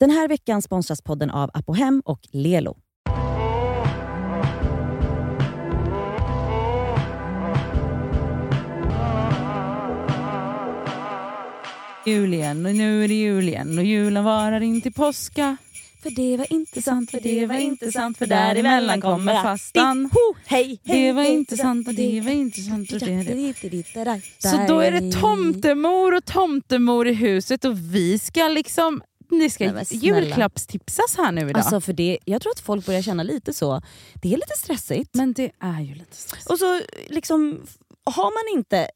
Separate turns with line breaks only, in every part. Den här veckan sponsras podden av Apohem och Lelo.
Jul igen och nu är det jul igen och julen varar in till påska.
För det var inte sant,
för det var inte sant, för däremellan kommer fastan.
Ho, hej, hej,
Det var
hej,
inte sant och det var inte sant och det är det.
det.
Så då är det tomtemor och tomtemor i huset och vi ska liksom ni
Nej,
ska
men snälla.
julklappstipsas här nu idag.
Alltså för det, jag tror att folk börjar känna lite så. Det är lite stressigt.
men det är ju lite stressigt.
Och så liksom, har man inte...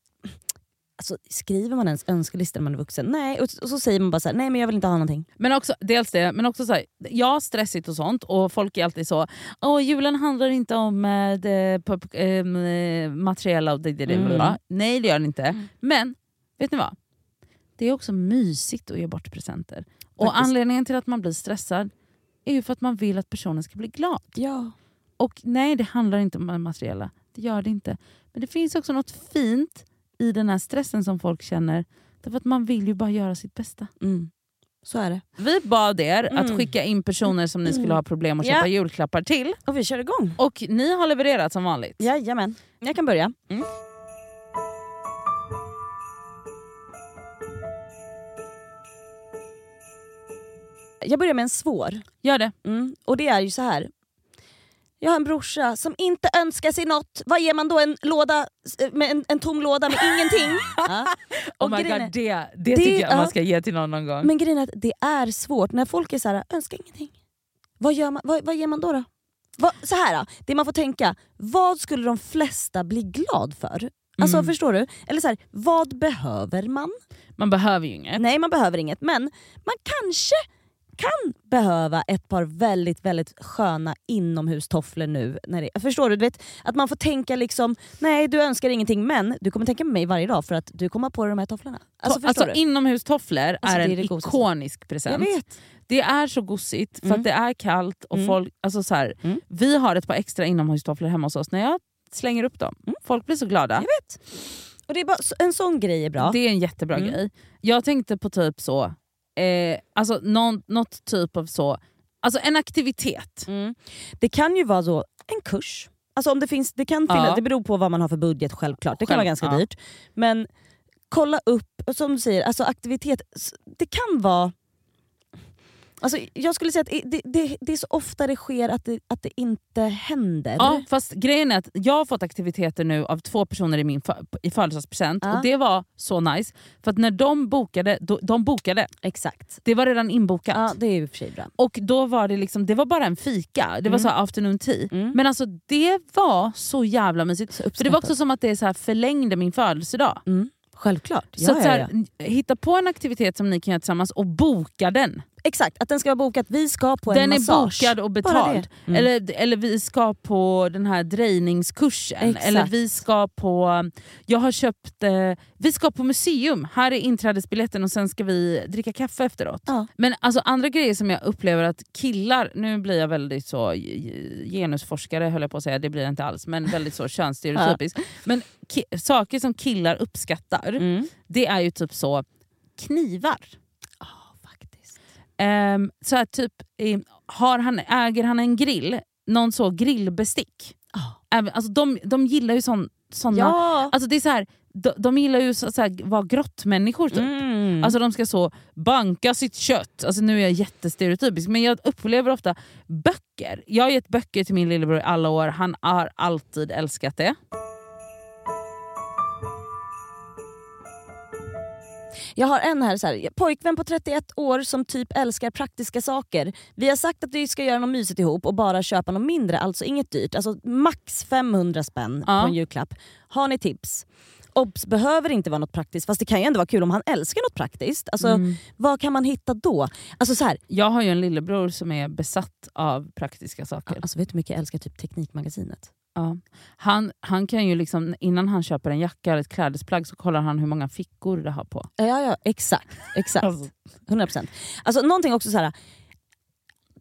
Alltså, skriver man ens önskelista när man är vuxen? Nej. Och, och så säger man bara så här, nej men jag vill inte ha någonting.
Men också, dels det, men också så här, ja stressigt och sånt och folk är alltid så, åh julen handlar inte om eh, det, på, på, ehm, eh, materiella och det, det, det,
Mm.
bla. Nej det gör den inte. Men vet ni vad? Det är också mysigt att ge bort presenter. Och
Faktiskt.
anledningen till att man blir stressad är ju för att man vill att personen ska bli glad.
Ja.
Och nej det handlar inte om det materiella, det gör det inte. Men det finns också något fint i den här stressen som folk känner, därför att man vill ju bara göra sitt bästa.
Mm. Så är det.
Vi bad er
Mm.
att skicka in personer som ni skulle ha problem att
Ja.
köpa julklappar till.
Och vi kör igång.
Och ni har levererat som vanligt.
Jajamän. Jag kan börja.
Mm.
Jag börjar med en svår.
Gör det.
Mm. Och det är ju så här. Jag har en brorsa som inte önskar sig något. Vad ger man då? En, låda, eh, med en, en tom låda med ingenting? Ja.
Oh
Och
my
grejen är-
God, det, det,
det-
tycker jag
ja.
man ska ge till någon någon gång.
Men grejen är att det är svårt när folk är så här, önskar ingenting. Vad, gör man, vad, vad ger man då? då? Vad, så här, då, det man får tänka, vad skulle de flesta bli glad för? Alltså
Mm.
förstår du? Eller så här, vad behöver man?
Man behöver ju inget.
Nej man behöver inget men man kanske kan behöva ett par väldigt väldigt sköna inomhustofflor nu. När det, förstår du? du vet, att man får tänka liksom, nej du önskar ingenting men du kommer tänka på mig varje dag för att du kommer ha på dig de här tofflorna. Alltså
To-
förstår
alltså inomhustofflor
Alltså,
är
det är
en
det godaste.
ikonisk
du? Jag
present.
vet.
Det är så gosigt för
Mm.
att det är kallt och
Mm.
folk... Alltså så här,
Mm.
Vi har ett par extra inomhustofflor hemma hos oss. När jag slänger upp dem,
Mm.
folk blir så glada.
Och det är bara, så- en sån grej är bra.
Det är en jättebra
Mm.
grej. Jag tänkte på typ så, eh, alltså någon, något typ av så, alltså en aktivitet.
Mm. Det kan ju vara så, en kurs. Alltså om det, finns, det, kan
Ja.
finnas, det beror på vad man har för budget självklart, det kan
Själv-
vara ganska
ja.
dyrt. Men kolla upp, och som du säger, alltså aktivitet, s- det kan vara... Alltså, jag skulle säga att i- det, det, det är så ofta det sker att det, att det inte händer.
Ja, fast grejen är att jag har fått aktiviteter nu av två personer i min fö- i födelsedagspresent
Ja.
och det var så nice. För att när de bokade, då, de bokade.
Exakt.
Det var redan inbokat.
Ja, det är ju i och för sig bra.
Och då var det liksom, det var bara en fika, det var
Mm.
så här afternoon tea.
Mm.
Men alltså det var så jävla mysigt.
Så
För det var också som att det så här förlängde min födelsedag.
Mm. Självklart.
så
Ja,
att,
ja,
så här,
ja.
n- hitta på en aktivitet som ni kan göra tillsammans och boka den.
Exakt, att den ska vara bokad. Vi ska på en
den
massage.
är bokad och
Bara
betald.
det. Mm.
Eller, eller vi ska på den här drejningskursen.
Exakt.
Eller vi ska på... Jag har köpt... Eh, vi ska på museum. Här är inträdesbiljetten och sen ska vi dricka kaffe efteråt.
Ja.
Men alltså andra grejer som jag upplever att killar... Nu blir jag väldigt så ge- genusforskare höll jag på att säga, det blir jag inte alls. Men väldigt så könsstereotypisk. Men ki- saker som killar uppskattar,
Mm.
det är ju typ så knivar.
Faktiskt.
Ehm, så här, typ, eh, har han, äger han en grill, någon så grillbestick.
Ja.
Även, alltså, de, de gillar ju sån, såna...
Ja.
Alltså, det är så här, de, de gillar ju så, så här, vara grottmänniskor. Typ.
Mm.
Alltså de ska så banka sitt kött. Alltså nu är jag jättestereotypisk men jag upplever ofta böcker. Jag har gett böcker till min lillebror i alla år, han har alltid älskat det.
Jag har en här, så här, pojkvän på 31 år som typ älskar praktiska saker. Vi har sagt att vi ska göra något mysigt ihop och bara köpa något mindre, alltså inget dyrt. Alltså max 500 spänn
Ja.
på en julklapp. Har ni tips? Obs! Behöver inte vara något praktiskt, fast det kan ju ändå vara kul om han älskar något praktiskt. Alltså, Vad kan man hitta då? Alltså, så här,
Jag har ju en lillebror som är besatt av praktiska saker.
alltså vet du hur mycket jag älskar typ Teknikmagasinet?
Ja. Han, han kan ju liksom, innan han köper en jacka eller ett klädesplagg så kollar han hur många fickor det har på.
Ja, ja, ja exakt. exakt.
Alltså.
100%. Alltså någonting också så här.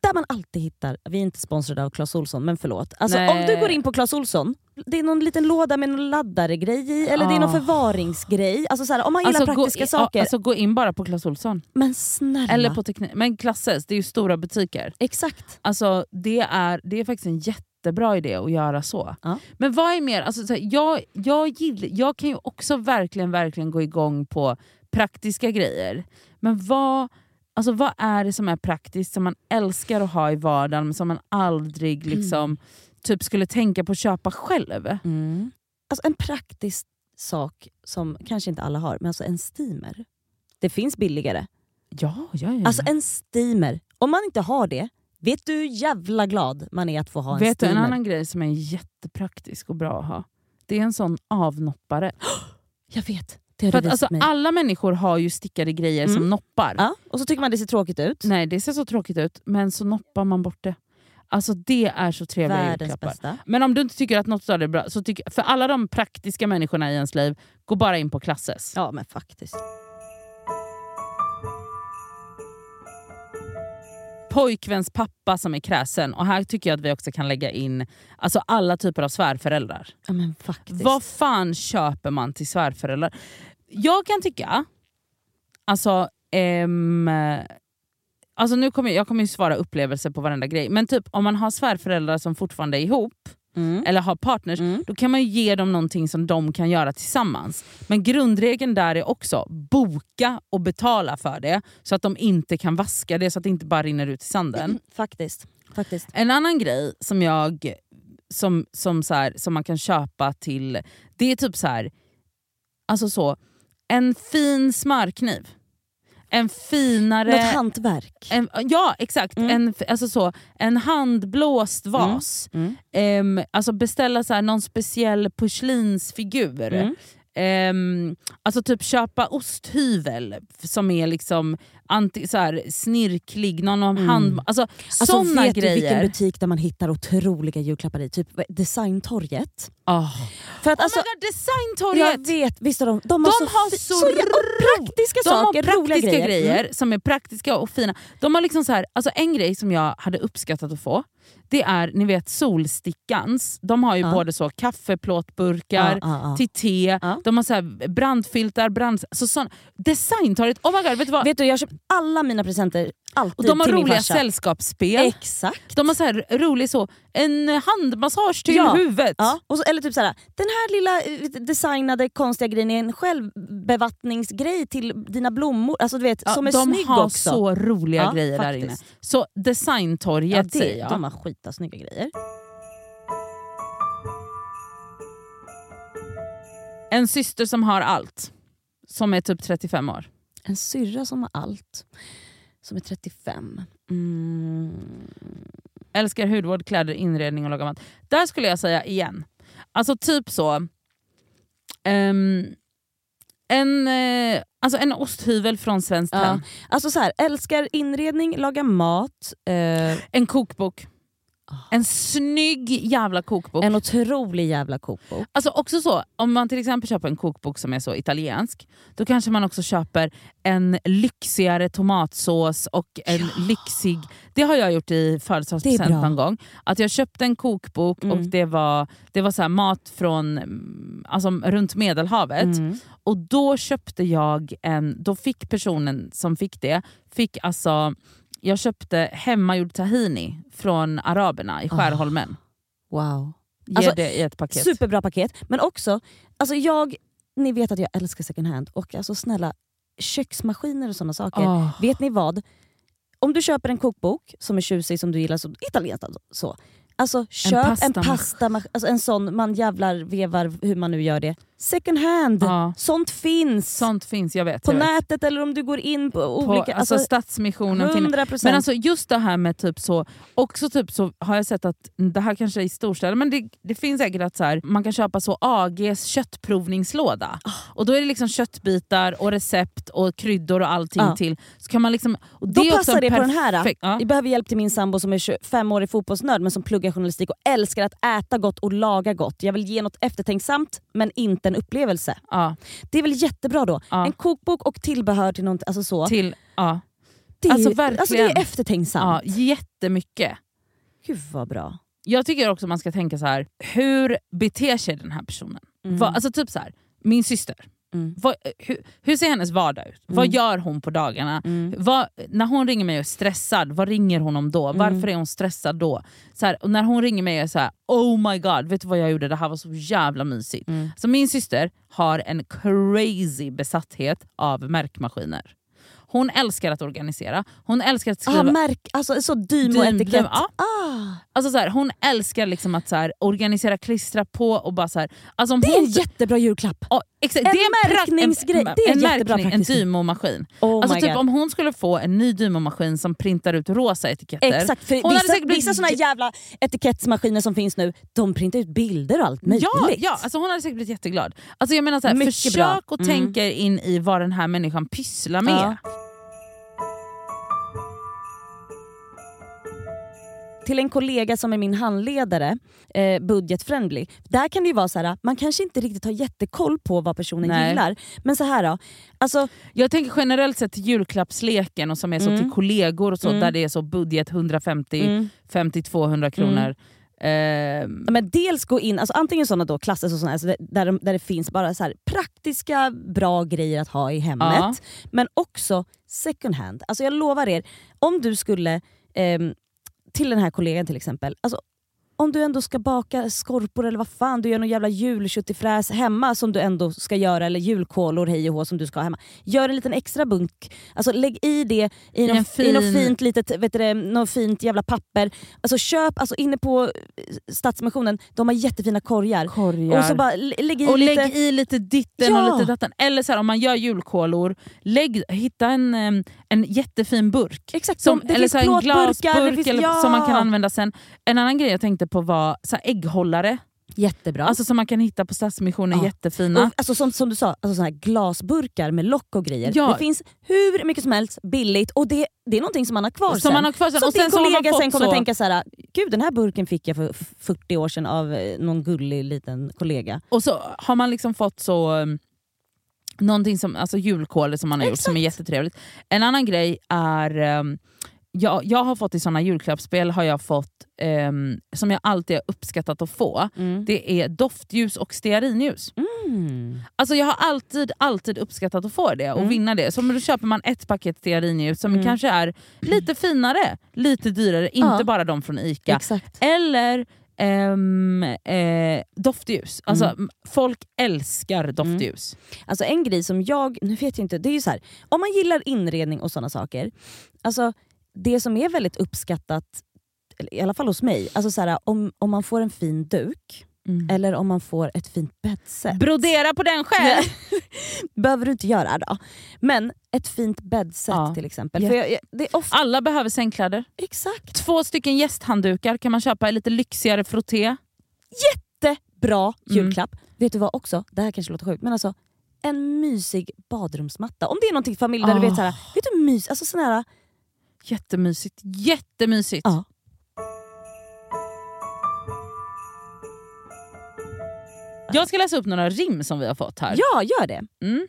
Där man alltid hittar, vi är inte sponsrade av Clas Olsson men förlåt. Alltså,
Nej.
om du går in på Clas Olsson det är någon liten låda med någon laddare-grej i, eller det är någon
Ah.
förvaringsgrej. Alltså så här, om man gillar
Alltså,
praktiska
gå, i-
saker.
ja, Alltså, gå in bara på Clas Ohlson.
men snälla.
Eller på teknik. Men Classes, det är ju stora butiker.
Exakt.
Alltså, det, är, det är faktiskt en jättebra idé att göra så.
Ja.
Men vad är mer? Alltså, så här, jag, jag, gillar, jag kan ju också verkligen, verkligen gå igång på praktiska grejer. Men vad, alltså, vad är det som är praktiskt som man älskar att ha i vardagen men som man aldrig
Mm.
liksom, typ skulle tänka på att köpa själv? Mm.
Alltså en praktisk sak som kanske inte alla har, men alltså en steamer. Det finns
Mm.
billigare.
Ja, ja, ja.
Alltså en steamer. Om man inte har det, vet du hur jävla glad man är att få ha en
Vet du en
steamer?
annan grej som är jättepraktisk och bra att ha? Det är en sån avnoppare.
Jag vet. Det har
För
du
att,
visat
alltså,
mig.
alla människor har ju stickade grejer som
Mm.
noppar.
Ja, och så tycker man det ser tråkigt ut.
Nej, det ser så tråkigt ut, men så noppar man bort det. Alltså det är så trevliga
Världens
julklappar.
bästa.
Men om du inte tycker att något av det är bra, så tycker, för alla de praktiska människorna i ens liv, gå bara in på Klasses.
Ja men faktiskt.
Pojkväns pappa som är kräsen, och här tycker jag att vi också kan lägga in alltså alla typer av svärföräldrar.
Ja, men faktiskt.
Vad fan köper man till svärföräldrar? Jag kan tycka, alltså, ehm, alltså nu kommer jag, jag kommer ju svara upplevelser på varenda grej, men typ om man har svärföräldrar som fortfarande är ihop,
Mm.
eller har partners,
Mm.
då kan man ju ge dem någonting som de kan göra tillsammans. Men grundregeln där är också boka och betala för det så att de inte kan vaska det så att det inte bara rinner ut i sanden.
Mm, Faktiskt. faktiskt.
En annan grej som jag som, som, så här, som man kan köpa till, det är typ så här, alltså så, en fin smörkniv. En finare...
Något hantverk.
En, ja, exakt.
Mm.
En, alltså så, en handblåst vas.
Mm.
Ehm, alltså beställa så här, någon speciell porslinsfigur.
Mm.
Ehm, alltså typ köpa osthyvel f- som är liksom anti, så här, snirklig, någon om
Mm.
hand... Alltså,
Alltså,
såna
vet du vilken
grejer.
butik där man hittar otroliga julklappar i? Typ Designtorget.
Oh.
Ah. För att alltså,
oh my god,
jag
designtorget!
vet, visst har de, de
De
har så,
har
fi-
så
jä- och praktiska
De
saker,
har
roliga
praktiska
grejer. Mm.
grejer, som är praktiska och fina. De har liksom så här, alltså en grej som jag hade uppskattat att få, det är ni vet solstickans. De har ju
Ja.
både så kaffeplåtburkar,
Ja, ja, ja.
till te,
Ja.
de har så här brandfiltar, brand, så sån, designtorget. Oh my god, vet du vad?
Vet du, jag köper alla mina presenter
och
alltid
de har
till min
roliga
farsa.
sällskapsspel.
Exakt.
De har så här rolig så, en handmassage till
Ja.
huvudet.
Ja. Och så, eller typ såhär, den här lilla eh, lite designade konstiga grejen är en självbevattningsgrej till dina blommor. Alltså du vet,
Ja,
som är
de
snygg
har
också.
så roliga
Ja,
grejer där inne.
faktiskt.
Så designtorget
Ja,
säger
det,
jag.
de har skita snygga grejer.
En syster som har allt. Som är typ 35 år.
En syrra som har allt. Som är 35. Mm.
Älskar hudvård, kläder, inredning och laga mat. Där skulle jag säga igen. Alltså typ så. ehm, en, eh, alltså en osthyvel från Svenskt
Ja.
Tenn.
Alltså så här, älskar inredning, laga mat. Eh,
En kokbok. En snygg jävla kokbok.
Ah. en otrolig jävla kokbok.
Alltså också så, om man till exempel köper en kokbok som är så italiensk, då kanske man också köper en lyxigare tomatsås och en lyxig... Det har jag gjort i
Det är
födelsedagspresent
bra.
någon gång. Att jag köpte en kokbok och
Mm.
det var, det var så här mat från mm, alltså, runt medelhavet.
Mm.
Och då köpte jag en, då fick personen som fick det, fick alltså, jag köpte hemmagjord tahini från araberna i
Ah.
Skärholmen.
Wow.
Ger
Alltså,
det i ett paket.
Superbra paket. Men också, alltså jag, ni vet att jag älskar second hand och alltså snälla, köksmaskiner och sådana saker.
Ah.
Vet ni vad? Om du köper en kokbok som är tjusig, som du gillar, så, italienskt alltså, så. Alltså köp en
pastamaskin.
pasta, alltså en sån, man jävlar vevar hur man nu gör det. Second hand!
Ja.
Sånt finns!
Ah. Sånt finns, jag vet.
på
jag vet.
nätet eller om du går in på
På,
olika...
alltså,
Alltså,
Stadsmissionen finns.
100 procent.
Men alltså just det här med typ så, också typ så har jag sett att, det här kanske är i storstäder, men det, det finns säkert att så här, man kan köpa så AGs köttprovningslåda.
Ah.
Och då är det liksom köttbitar och recept och kryddor och allting
Ja.
till. Så kan man liksom, och
Ah. Då
det är också
passar
en
det på den här, ah.
perfekt- ja.
Vi behöver hjälp till min sambo som är 25 år i fotbollsnörd men som pluggar journalistik och älskar att äta gott och laga gott. Jag vill ge något eftertänksamt men inte en upplevelse.
Ja,
Det är väl jättebra då?
Ja.
En kokbok och tillbehör till något, alltså så.
till, ja,
det, är,
alltså
ju- alltså det
verkligen.
är eftertänksamt.
ja, jättemycket.
Gud vad bra.
Jag tycker också man ska tänka så här. hur beter sig den här personen?
Mm.
Vad, alltså typ så här, min syster.
Mm.
Vad, hur, hur ser hennes vardag ut? Vad
Mm.
gör hon på dagarna?
Mm.
Vad, när hon ringer mig och är stressad, vad ringer hon om då? Varför är hon stressad då? Så här, och när hon ringer mig och är så här, oh my god, vet du vad jag gjorde? Det här var så jävla mysigt.
Mm.
Så min syster har en crazy besatthet av märkmaskiner. Hon älskar att organisera, hon älskar att skriva...
Ah, märk, alltså, så dym och
Dym- dym-
etikett.
ja.
ah,
alltså så här, hon älskar liksom att så här, organisera, klistra på och bara så här, alltså om
det är
hon,
en jättebra julklapp!
Ja, exakt,
en
det är prak-
märkningsgrej.
En,
Det är
en
jättebra
märkning, en
praktisk.
dymomaskin.
Oh
alltså
my
typ
God.
om hon skulle få en ny dymomaskin som printar ut rosa etiketter.
Exakt, för
hon hade
vissa,
säkert blivit
vissa såna
jä-
jävla etikettsmaskiner som finns nu, de printar ut bilder och allt möjligt.
Ja, ja alltså hon hade säkert blivit jätteglad. Alltså jag menar så här,
Mycket
försök
bra.
och
Mm.
tänka er in i vad den här människan pysslar med.
Ja. Till en kollega som är min handledare, eh, budgetfriendly, där kan det ju vara så här, man kanske inte riktigt har jättekoll på vad personen
Nej.
gillar. Men så här då, alltså,
Jag tänker generellt sett till julklappsleken och som är så
Mm.
till kollegor och så
Mm.
där det är så budget 150, 50-200 kronor.
Mm.
Ehm,
men dels gå in, alltså antingen sådana då, klasser och såna, alltså där, där, de- där det finns bara så här, praktiska bra grejer att ha i hemmet.
Ja.
Men också second hand. Alltså jag lovar er, om du skulle, ehm, till den här kollegan till exempel, alltså, om du ändå ska baka skorpor eller vad fan, du gör någon jävla julköttifräs hemma som du ändå ska göra, eller julkolor hej och hå som du ska ha hemma. Gör en liten extra bunk, alltså lägg i det i, någon,
en
i något
fin-
fint litet, vet du, det, något fint jävla papper. Alltså köp, alltså inne på eh, Stadsmissionen, de har jättefina korgar.
korgar.
Och så bara l- lägg i
Och
lite...
lägg i lite ditten
Ja.
och lite datten. Eller så här, om man gör julkolor, lägg, hitta en, em, en jättefin burk.
Exakt,
Som,
de- det
eller
finns
så här, en
plåtburkar, det
glasburk
finns,
eller,
ja.
som man kan använda sen. En annan grej jag tänkte på var så här, ägghållare,
Jättebra.
alltså, som man kan hitta på Stadsmissionen,
Ja.
jättefina.
Och, alltså, som, som du sa, alltså, såna här glasburkar med lock och grejer.
Ja.
Det finns hur mycket som helst, billigt och det, det är någonting som man har kvar
som
sen.
man har kvar sen.
Som
och
din
sen så har man
kollega
fått
sen kommer
så-
tänka så här: gud den här burken fick jag för f- 40 år sedan av eh, någon gullig liten kollega.
Och så har man liksom fått så um, någonting som, alltså julkolor som man har gjort som är jättetrevligt. En annan grej är, um, jag, jag har fått i såna julklappsspel har jag fått, um, som jag alltid har uppskattat att få,
Mm.
det är doftljus och stearinljus.
Mm.
Alltså jag har alltid, alltid uppskattat att få det och
Mm.
vinna det. Så men då köper man ett paket stearinljus som
Mm.
kanske är lite finare, lite dyrare, inte
Ja.
bara de från ICA.
Exakt.
Eller ehm, eh, doftljus. Alltså,
Mm.
m- Folk älskar doftljus.
Alltså en grej som jag, nu vet jag inte, det är ju så här. om man gillar inredning och sådana saker, alltså det som är väldigt uppskattat, eller i alla fall hos mig, alltså så här, om, om man får en fin duk
Mm.
eller om man får ett fint bäddset.
Brodera på den själv!
Nej. behöver du inte göra då. Men ett fint bäddset
Ja.
till exempel.
Ja.
För jag, jag, det är ofta,
Alla behöver sängkläder.
exakt
Två stycken gästhanddukar kan man köpa i lite lyxigare frotté.
det bra
Mm.
julklapp. Vet du vad också? Det här kanske låter sjukt men alltså en mysig badrumsmatta. Om det är någonting för familj där du vet
Ah.
såhär, vet du mys, alltså sån här,
Jättemysigt. Jättemysigt.
Ja.
Jag ska läsa upp några rim som vi har fått här.
ja gör det.
Mm.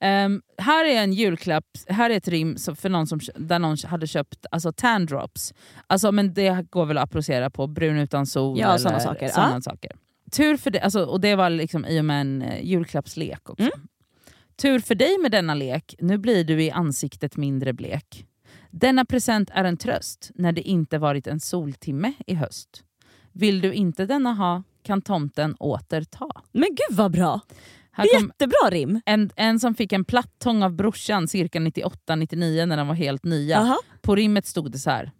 Ehm, här är en julklapp, här är ett rim som- för någon som, kö- där någon hade köpt alltså, tan drops. Alltså, men det går väl att applicera på brun utan sol
Ja,
eller
såna saker.
såna
Ja.
saker. Tur för dig, alltså, och det var liksom i och med en eh, julklappslek också.
Mm.
Tur för dig med denna lek, nu blir du i ansiktet mindre blek. Denna present är en tröst när det inte varit en soltimme i höst. Vill du inte denna ha kan tomten återta.
Men gud vad bra!
Här kom-
Jättebra rim!
en, en som fick en platt tång av brorsan cirka 98-99 när den var helt nya.
Aha.
På rimmet stod det så här.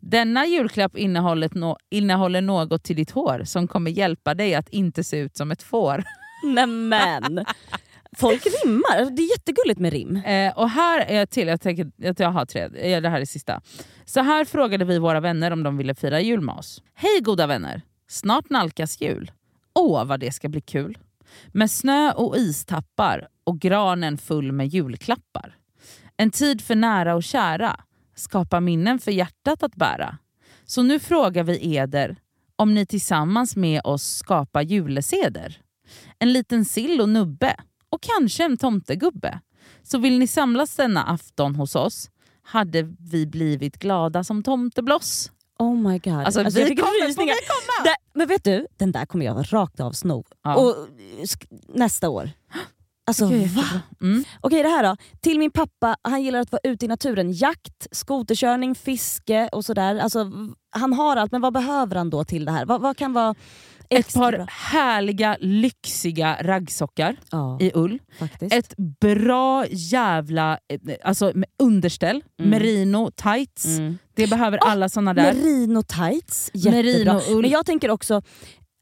Denna julklapp innehåller, nå- innehåller något till ditt hår som kommer hjälpa dig att inte se ut som ett får.
Nämen! Folk rimmar, Alltså, det är jättegulligt med rim.
Eh, och här är jag till, jag, tänker, att jag har tre, eh, det här är sista. Så här frågade vi våra vänner om de ville fira jul med oss. Hej goda vänner! Snart nalkas jul. Åh vad det ska bli kul! Med snö och istappar och granen full med julklappar. En tid för nära och kära, skapa minnen för hjärtat att bära. Så nu frågar vi eder om ni tillsammans med oss skapar juleseder. En liten sill och nubbe och kanske en tomtegubbe. Så vill ni samlas denna afton hos oss hade vi blivit glada som tomtebloss.
Oh my god.
Alltså,
Alltså, jag
vi
fick
kommer, får vi
rysningar.
komma?
Där- Men vet du, den där kommer jag rakt av sno.
Ja.
Och, sk- nästa år. Alltså
Gud,
va?
jättebra. Mm.
Okej det här då. Till min pappa, han gillar att vara ute i naturen. Jakt, skoterkörning, fiske och sådär. Alltså, v- han har allt, men vad behöver han då till det här? Vad, vad kan vara
Ett
extra
par
bra?
härliga, lyxiga raggsockar
Ja,
i ull.
faktiskt.
Ett bra jävla eh, alltså, med underställ,
Mm.
merino, tights.
mm.
Det behöver
Ah,
alla såna där.
Merino tights, jättebra.
Merino,
Men
ull.
jag tänker också,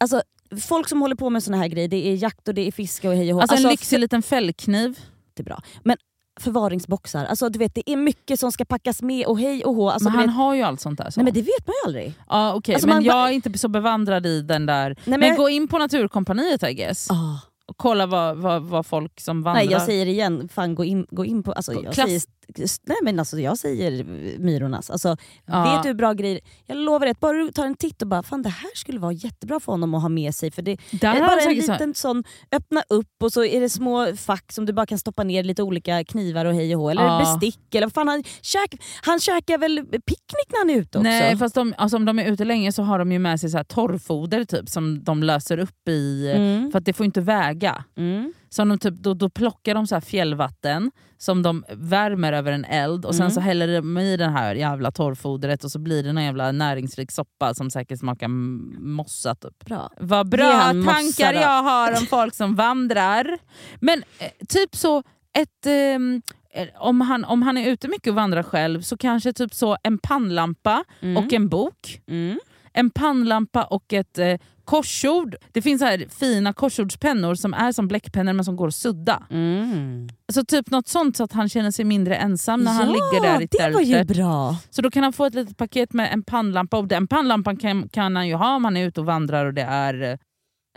alltså, folk som håller på med såna här grejer, det är jakt och det är fiske och hej och hå.
Alltså, en
Alltså,
lyxig liten fällkniv.
jättebra. Men förvaringsboxar, alltså, du vet, det är mycket som ska packas med och hej och hå. Alltså,
men
du
han
vet,
har ju allt sånt där. Så.
nej men det vet man ju aldrig.
ja, okej,
Alltså,
men
man-
jag är inte så bevandrad i den där.
Nej, men
Men
jag-
gå in på Naturkompaniet I guess.
Ah.
Och kolla vad, vad, vad folk som vandrar...
Nej jag säger igen, fan gå in, gå in på... Alltså, jag,
Klass-
säger, s- nej, men alltså, jag säger Myrornas. Alltså,
Ja.
Vet du hur bra grejer... Jag lovar dig, bara du tar en titt och bara fan det här skulle vara jättebra för honom att ha med sig. För det är
där har
Eh, bara
de
en
säkert så-
liten sån, öppna upp och så är det små fack som du bara kan stoppa ner lite olika knivar och hej och hå. Eller
Ja.
bestick. Eller vad fan, han, käk, han käkar väl picknick när han är ute också?
Nej fast de, alltså, om de är ute länge så har de ju med sig så här torrfoder typ, som de löser upp i,
Mm.
för att det får inte väga.
Mm.
Så de typ, då, då plockar de så här fjällvatten som de värmer över en eld och sen
Mm.
så häller de i det här jävla torrfodret och så blir det någon jävla näringsrik soppa som säkert smakar m- mossa typ.
Bra.
Vad
Ge
bra
han mossa
tankar
då.
jag har om folk som vandrar. Men eh, typ så, ett, ehm, eh, om, han, om han är ute mycket och vandrar själv så kanske typ så en pannlampa
Mm.
och en bok.
Mm.
En pannlampa och ett eh, korsord. Det finns så här fina korsordspennor som är som bläckpennor men som går att sudda.
Mm.
Så typ något sånt så att han känner sig mindre ensam när han
ja,
ligger där i
Ah, det var
tältet.
ju bra.
Så då kan han få ett litet paket med en pannlampa och den pannlampan kan, kan han ju ha om han är ute och vandrar och det är eh,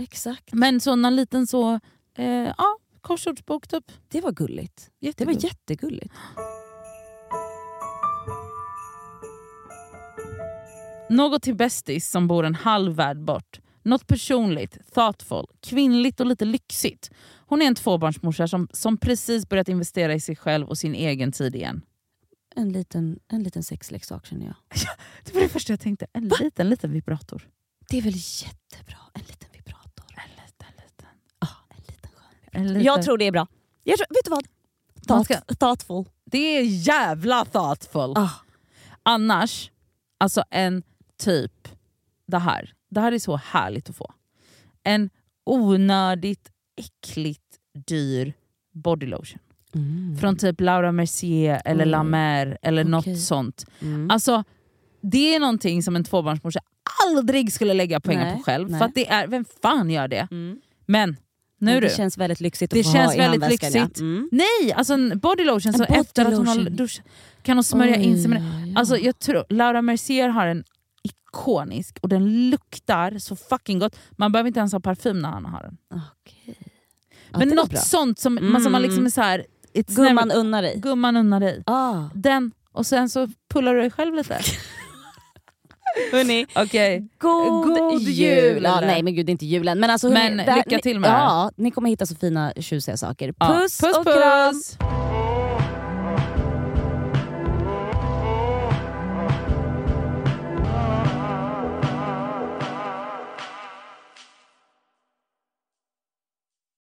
Exakt.
men så någon liten så, eh, ja, korsordsbok typ.
Det var gulligt. Det var
Jättegod.
jättegulligt.
Något till bästis som bor en halv värld bort. Något personligt, thoughtful, kvinnligt och lite lyxigt. Hon är en tvåbarnsmorsa som, som precis börjat investera i sig själv och sin egen tid igen.
En liten, en liten sexleksak känner jag.
Det var det första jag tänkte. En liten, liten vibrator.
Det är väl jättebra. En liten vibrator.
En liten, liten.
Ja, en liten skön.
En liten.
Jag tror det är bra. Jag tror, vet du vad?
Man
Thought,
ska-
Thoughtful.
Det är jävla thoughtful.
Ah.
Annars, alltså en typ det här. Det här är så härligt att få. En onödigt äckligt dyr bodylotion. Från typ Laura Mercier eller
Mm.
La Mer eller
Okej.
något sånt.
Mm.
Alltså Det är någonting som en tvåbarnsmorsa aldrig skulle lägga pengar
Nej,
på själv.
nej.
För att det är, vem fan gör det?
Mm.
Men nu
Men
du.
Det känns väldigt lyxigt
Det
att få
känns
ha i
väldigt
handväskan, ja.
lyxigt.
Mm.
Nej, alltså en bodylotion. Så
En
efter att hon har
bodylotion.
duschat kan hon smörja in sig med
Oj, ja, ja.
Alltså jag tror, Laura Mercier har en ikonisk och den luktar så fucking gott. Man behöver inte ens ha parfym när han har den.
Okej. Ja,
Men
det var
något
bra.
sånt som,
Mm.
som man liksom är såhär... it's
Gumman
never-
unnar dig.
gumman unnar dig.
Ah.
Den, och sen så pullar du dig själv lite.
Hörni,
Okej.
God,
God jul!
Ja, nej men gud, det är inte julen. Men, alltså, hörni,
Men
det här-
lycka till med
ni,
det här.
Ja, ni kommer hitta så fina tjusiga saker.
Ja.
Puss, och kram!
puss.